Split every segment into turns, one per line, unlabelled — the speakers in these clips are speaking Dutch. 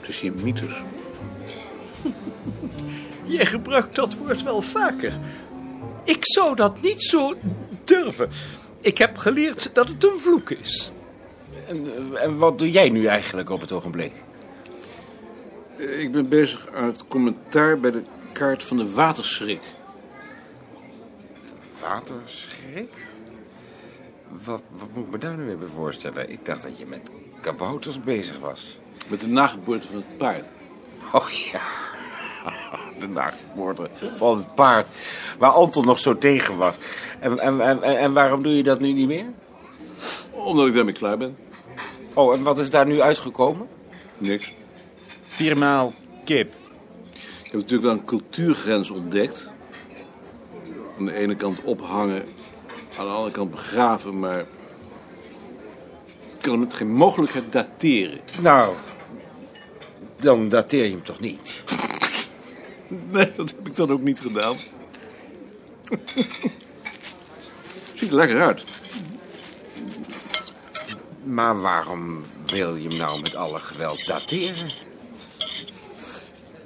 Antisemietisch.
Jij gebruikt dat woord wel vaker. Ik zou dat niet zo durven. Ik heb geleerd dat het een vloek is.
En, en wat doe jij nu eigenlijk op het ogenblik?
Eh, Ik ben bezig aan het commentaar bij de kaart van de waterschrik.
Waterschrik? Wat, wat moet ik me daar nu weer bij voorstellen? Ik dacht dat je met kabouters bezig was.
Met de nageboorte van het paard.
Oh ja, de nachtmoorden van het paard. Waar Anton nog zo tegen was. En, en, en, en waarom doe je dat nu niet meer?
Omdat ik daarmee klaar ben.
Oh, en wat is daar nu uitgekomen?
Niks.
Viermaal kip.
Ik heb natuurlijk wel een cultuurgrens ontdekt. Aan de ene kant ophangen, aan de andere kant begraven, maar ik kan hem met geen mogelijkheid dateren.
Nou, dan dateer je hem toch niet?
Nee, dat heb ik dan ook niet gedaan. Ziet er lekker uit.
Maar waarom wil je hem nou met alle geweld dateren?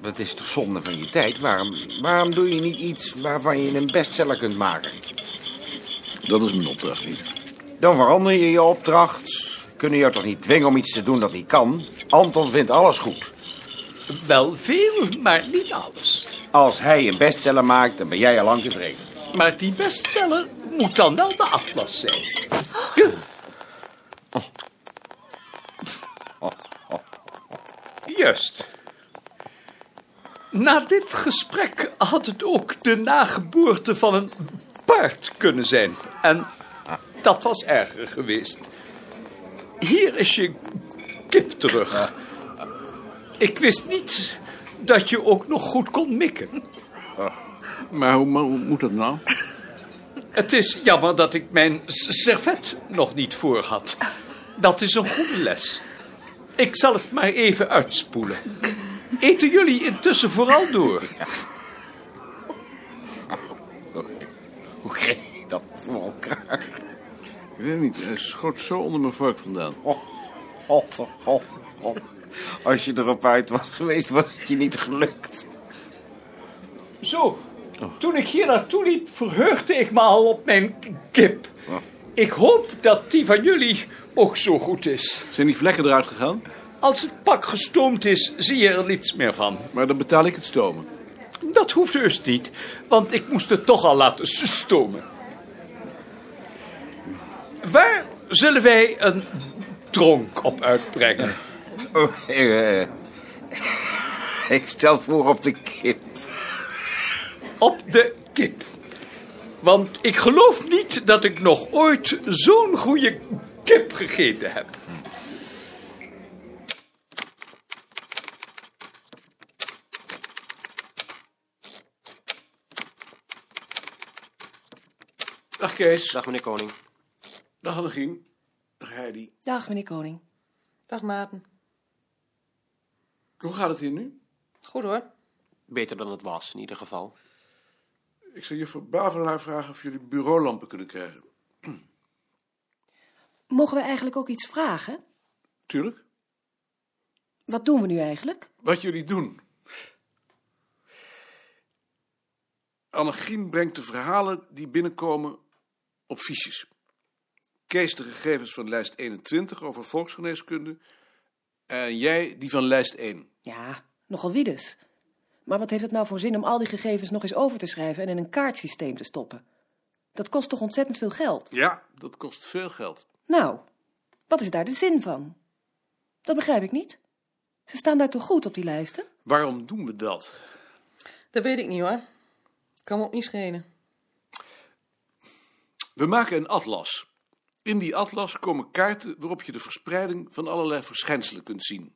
Dat is toch zonde van je tijd? Waarom, waarom doe je niet iets waarvan je een bestseller kunt maken?
Dat is mijn opdracht niet.
Dan verander je je opdracht. Kunnen jou toch niet dwingen om iets te doen dat niet kan? Anton vindt alles goed.
Wel veel, maar niet alles.
Als hij een bestseller maakt, dan ben jij al lang tevreden.
Maar die bestseller moet dan wel de atlas zijn. Juist. Na dit gesprek had het ook de nageboorte van een paard kunnen zijn. En dat was erger geweest. Hier is je kip terug. Ik wist niet dat je ook nog goed kon mikken.
Maar hoe, maar hoe moet dat nou?
Het is jammer dat ik mijn s- servet nog niet voor had. Dat is een goede les. Ik zal het maar even uitspoelen. Eten jullie intussen vooral door?
Hoe kreeg je dat voor elkaar?
Ik weet het niet, hij schoot zo onder mijn vark vandaan.
Oh, god, oh, god, oh, god. Als je erop uit was geweest, was het je niet gelukt.
Zo, toen ik hier naartoe liep, verheugde ik me al op mijn k- kip. Ik hoop dat die van jullie ook zo goed is.
Zijn die vlekken eruit gegaan?
Als het pak gestoomd is, zie je er niets meer van.
Maar dan betaal ik het stomen.
Dat hoeft heus niet, want ik moest het toch al laten s- stomen. Waar zullen wij een dronk op uitbrengen?
Oh, eh, eh. ik stel voor op de kip.
Op de kip. Want ik geloof niet dat ik nog ooit zo'n goede kip gegeten heb.
Dag Kees,
Dag meneer Koning.
dag Annegien, dag Heidi.
Dag, meneer Koning. Dag, Maarten.
Hoe gaat het hier nu?
Goed hoor.
Beter dan het was, in ieder geval.
Ik zal juffrouw Bavelaar vragen of jullie bureaulampen kunnen krijgen.
Mogen we eigenlijk ook iets vragen?
Tuurlijk.
Wat doen we nu eigenlijk?
Wat jullie doen. Annegien brengt de verhalen die binnenkomen op fiches. Kees de gegevens van lijst 21 over volksgeneeskunde. En jij die van lijst 1.
Ja, nogal wie dus. Maar wat heeft het nou voor zin om al die gegevens nog eens over te schrijven en in een kaartsysteem te stoppen? Dat kost toch ontzettend veel geld?
Ja, dat kost veel geld.
Nou, wat is daar de zin van? Dat begrijp ik niet. Ze staan daar toch goed op die lijsten?
Waarom doen we dat?
Dat weet ik niet hoor. Kan me ook niet schelen.
We maken een atlas. In die atlas komen kaarten waarop je de verspreiding van allerlei verschijnselen kunt zien.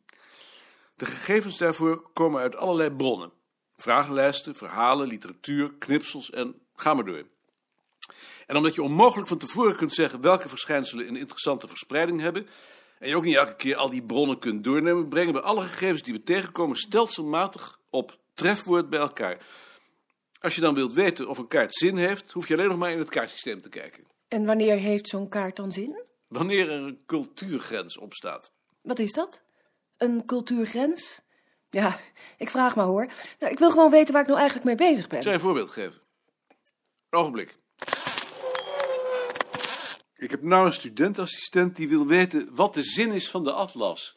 De gegevens daarvoor komen uit allerlei bronnen. Vragenlijsten, verhalen, literatuur, knipsels en ga maar door. En omdat je onmogelijk van tevoren kunt zeggen welke verschijnselen een interessante verspreiding hebben, en je ook niet elke keer al die bronnen kunt doornemen, brengen we alle gegevens die we tegenkomen stelselmatig op trefwoord bij elkaar. Als je dan wilt weten of een kaart zin heeft, hoef je alleen nog maar in het kaartsysteem te kijken.
En wanneer heeft zo'n kaart dan zin?
Wanneer er een cultuurgrens opstaat.
Wat is dat? Een cultuurgrens? Ja, ik vraag maar hoor. Nou, ik wil gewoon weten waar ik nou eigenlijk mee bezig ben.
Zal je een voorbeeld geven? Een ogenblik. Ik heb nou een studentassistent die wil weten wat de zin is van de atlas.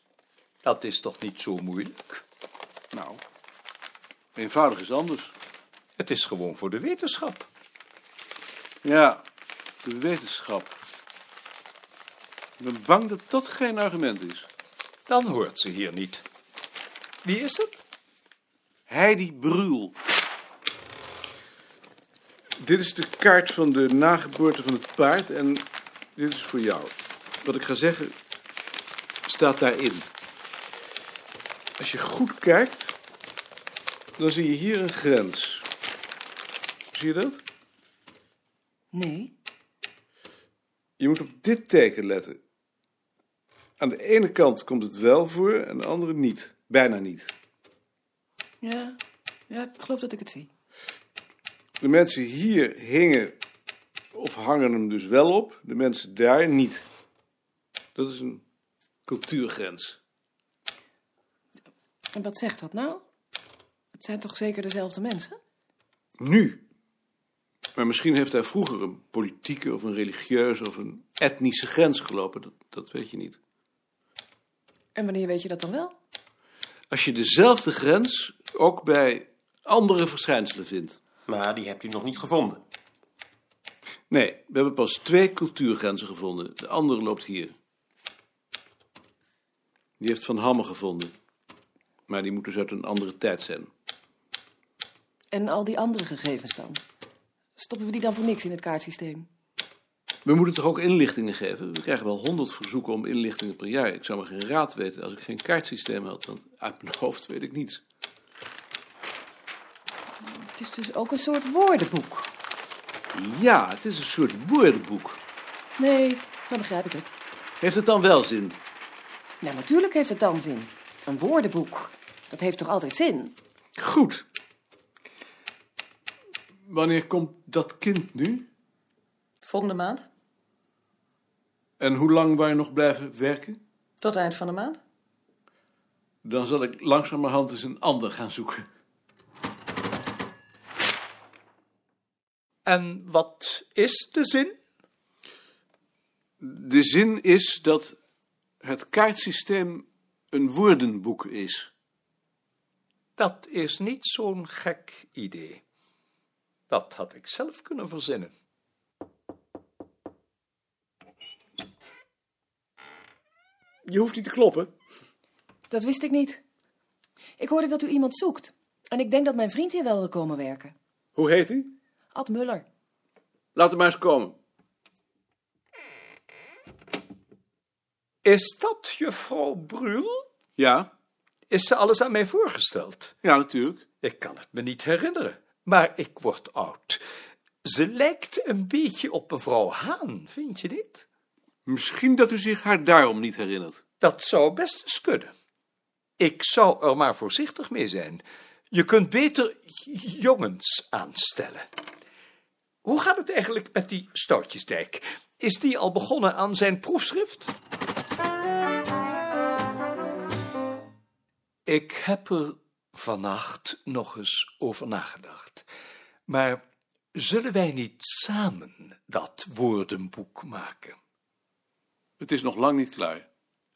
Dat is toch niet zo moeilijk?
Nou, eenvoudig is anders.
Het is gewoon voor de wetenschap.
Ja, de wetenschap. Ik ben bang dat dat geen argument is.
Dan hoort ze hier niet. Wie is het?
Heidi Bruul. Dit is de kaart van de nageboorte van het paard en dit is voor jou. Wat ik ga zeggen staat daarin. Als je goed kijkt, dan zie je hier een grens. Zie je dat?
Nee.
Je moet op dit teken letten. Aan de ene kant komt het wel voor en aan de andere niet. Bijna niet.
Ja. ja, ik geloof dat ik het zie.
De mensen hier hingen of hangen hem dus wel op, de mensen daar niet. Dat is een cultuurgrens.
En wat zegt dat nou? Het zijn toch zeker dezelfde mensen?
Nu. Maar misschien heeft hij vroeger een politieke of een religieuze of een etnische grens gelopen. Dat, dat weet je niet.
En wanneer weet je dat dan wel?
Als je dezelfde grens ook bij andere verschijnselen vindt.
Maar die hebt u nog niet gevonden.
Nee, we hebben pas twee cultuurgrenzen gevonden. De andere loopt hier. Die heeft Van Hamme gevonden. Maar die moet dus uit een andere tijd zijn.
En al die andere gegevens dan? Stoppen we die dan voor niks in het kaartsysteem?
We moeten toch ook inlichtingen geven? We krijgen wel honderd verzoeken om inlichtingen per jaar. Ik zou maar geen raad weten als ik geen kaartsysteem had. Want uit mijn hoofd weet ik niets.
Het is dus ook een soort woordenboek.
Ja, het is een soort woordenboek.
Nee, dan begrijp ik het.
Heeft het dan wel zin?
Ja, natuurlijk heeft het dan zin. Een woordenboek. Dat heeft toch altijd zin?
Goed. Wanneer komt dat kind nu?
Volgende maand?
En hoe lang wou je nog blijven werken?
Tot eind van de maand?
Dan zal ik langzamerhand eens een ander gaan zoeken.
En wat is de zin?
De zin is dat het kaartsysteem een woordenboek is.
Dat is niet zo'n gek idee. Dat had ik zelf kunnen verzinnen.
Je hoeft niet te kloppen.
Dat wist ik niet. Ik hoorde dat u iemand zoekt. En ik denk dat mijn vriend hier wel wil komen werken.
Hoe heet hij?
Ad Muller.
Laat hem maar eens komen.
Is dat juffrouw Bruul?
Ja,
Is ze alles aan mij voorgesteld?
ja, natuurlijk.
Ik kan het me niet herinneren, maar ik word oud. Ze lijkt een beetje op mevrouw Haan, vind je niet?
Misschien dat u zich haar daarom niet herinnert.
Dat zou best eens kunnen. Ik zou er maar voorzichtig mee zijn. Je kunt beter j- jongens aanstellen. Hoe gaat het eigenlijk met die Stoutjesdijk? Is die al begonnen aan zijn proefschrift? Ik heb er vannacht nog eens over nagedacht. Maar zullen wij niet samen dat woordenboek maken?
Het is nog lang niet klaar.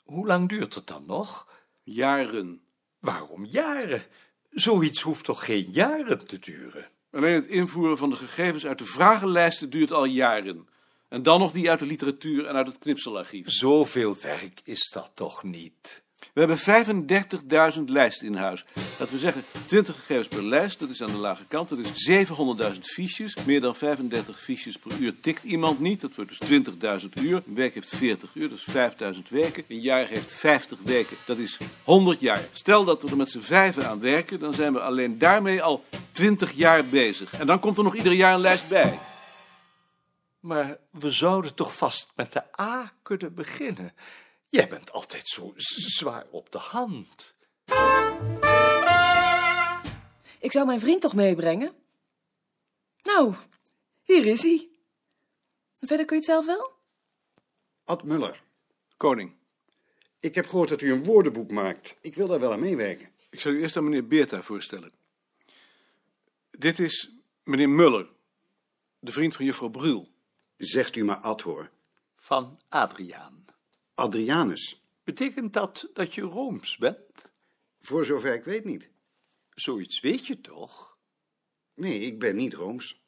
Hoe lang duurt het dan nog?
Jaren.
Waarom jaren? Zoiets hoeft toch geen jaren te duren?
Alleen het invoeren van de gegevens uit de vragenlijsten duurt al jaren. En dan nog die uit de literatuur en uit het knipselarchief.
Zoveel werk is dat toch niet?
We hebben 35.000 lijsten in huis. Laten we zeggen, 20 gegevens per lijst, dat is aan de lage kant. Dat is 700.000 fiches. Meer dan 35 fiches per uur tikt iemand niet. Dat wordt dus 20.000 uur. Een week heeft 40 uur, dat is 5.000 weken. Een jaar heeft 50 weken, dat is 100 jaar. Stel dat we er met z'n vijven aan werken, dan zijn we alleen daarmee al 20 jaar bezig. En dan komt er nog ieder jaar een lijst bij.
Maar we zouden toch vast met de A kunnen beginnen? Jij bent altijd zo z- zwaar op de hand.
Ik zou mijn vriend toch meebrengen? Nou, hier is hij. Verder kun je het zelf wel?
Ad Muller,
Koning,
ik heb gehoord dat u een woordenboek maakt. Ik wil daar wel aan meewerken.
Ik zal u eerst aan meneer Beerta voorstellen. Dit is meneer Muller, de vriend van juffrouw Bruul.
Zegt u maar Ad hoor.
Van Adriaan.
Adrianus.
Betekent dat dat je Rooms bent?
Voor zover ik weet niet.
Zoiets weet je toch?
Nee, ik ben niet Rooms.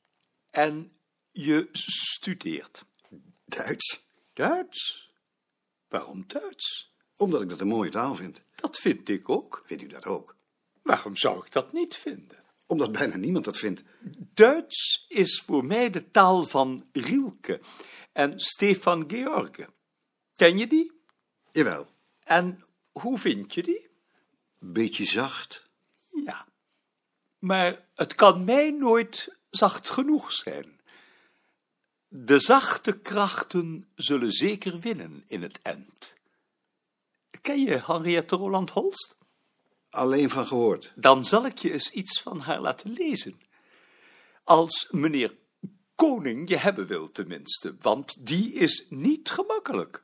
En je studeert
Duits.
Duits? Waarom Duits?
Omdat ik dat een mooie taal vind.
Dat vind ik ook.
Vindt u dat ook?
Waarom zou ik dat niet vinden?
Omdat bijna niemand dat vindt.
Duits is voor mij de taal van Rielke en Stefan George. Ken je die?
Jawel.
En hoe vind je die?
Beetje zacht.
Ja. Maar het kan mij nooit zacht genoeg zijn. De zachte krachten zullen zeker winnen in het eind. Ken je Henriette Roland Holst?
Alleen van gehoord.
Dan zal ik je eens iets van haar laten lezen. Als meneer Koning je hebben wil, tenminste, want die is niet gemakkelijk.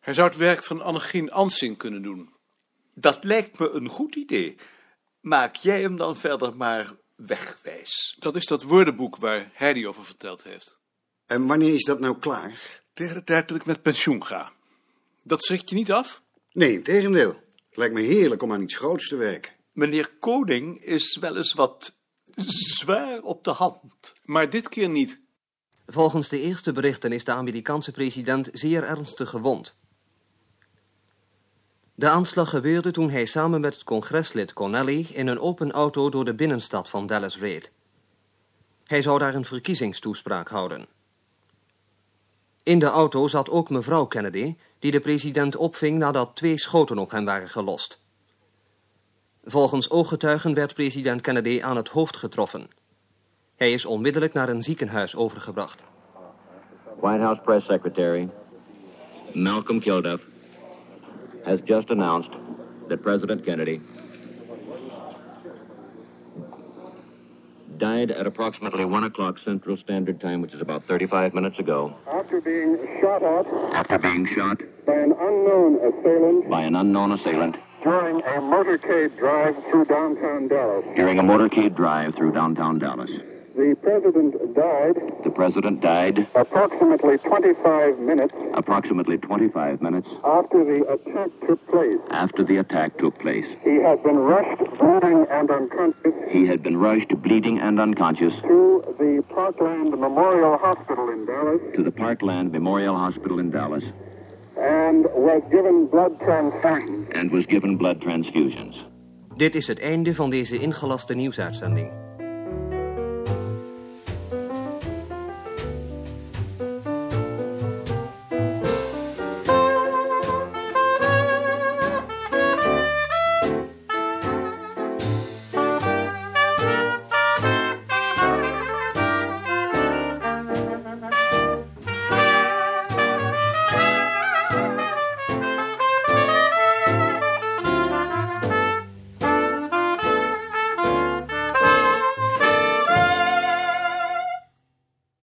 Hij zou het werk van Annegien Ansing kunnen doen.
Dat lijkt me een goed idee. Maak jij hem dan verder maar wegwijs.
Dat is dat woordenboek waar hij die over verteld heeft.
En wanneer is dat nou klaar?
Tegen de tijd dat ik met pensioen ga. Dat schrikt je niet af?
Nee, integendeel. Het lijkt me heerlijk om aan iets groots te werken.
Meneer Koning is wel eens wat zwaar op de hand.
Maar dit keer niet.
Volgens de eerste berichten is de Amerikaanse president zeer ernstig gewond. De aanslag gebeurde toen hij samen met het congreslid Connelly in een open auto door de binnenstad van Dallas reed. Hij zou daar een verkiezingstoespraak houden. In de auto zat ook mevrouw Kennedy, die de president opving nadat twee schoten op hem waren gelost. Volgens ooggetuigen werd president Kennedy aan het hoofd getroffen. Hij is onmiddellijk naar een ziekenhuis overgebracht.
White House Press Secretary Malcolm Kilduff has just announced that President Kennedy died at approximately 1 o'clock Central Standard Time, which is about 35 minutes ago,
after being shot at
after being shot
by an unknown assailant
by an unknown assailant
during a motorcade drive through downtown Dallas.
during a motorcade drive through downtown Dallas.
The president died
The president died
approximately 25 minutes
approximately 25 minutes
after the attack took place.
after the attack took place.
He had been rushed, bleeding and unconscious,
He had been rushed, bleeding and unconscious,
to the Parkland Memorial Hospital in Dallas
to the Parkland Memorial Hospital in Dallas
and was given blood transfusions.
and was given blood transfusions.
Dit is het einde van deze ingelaste nieuwsuitzending.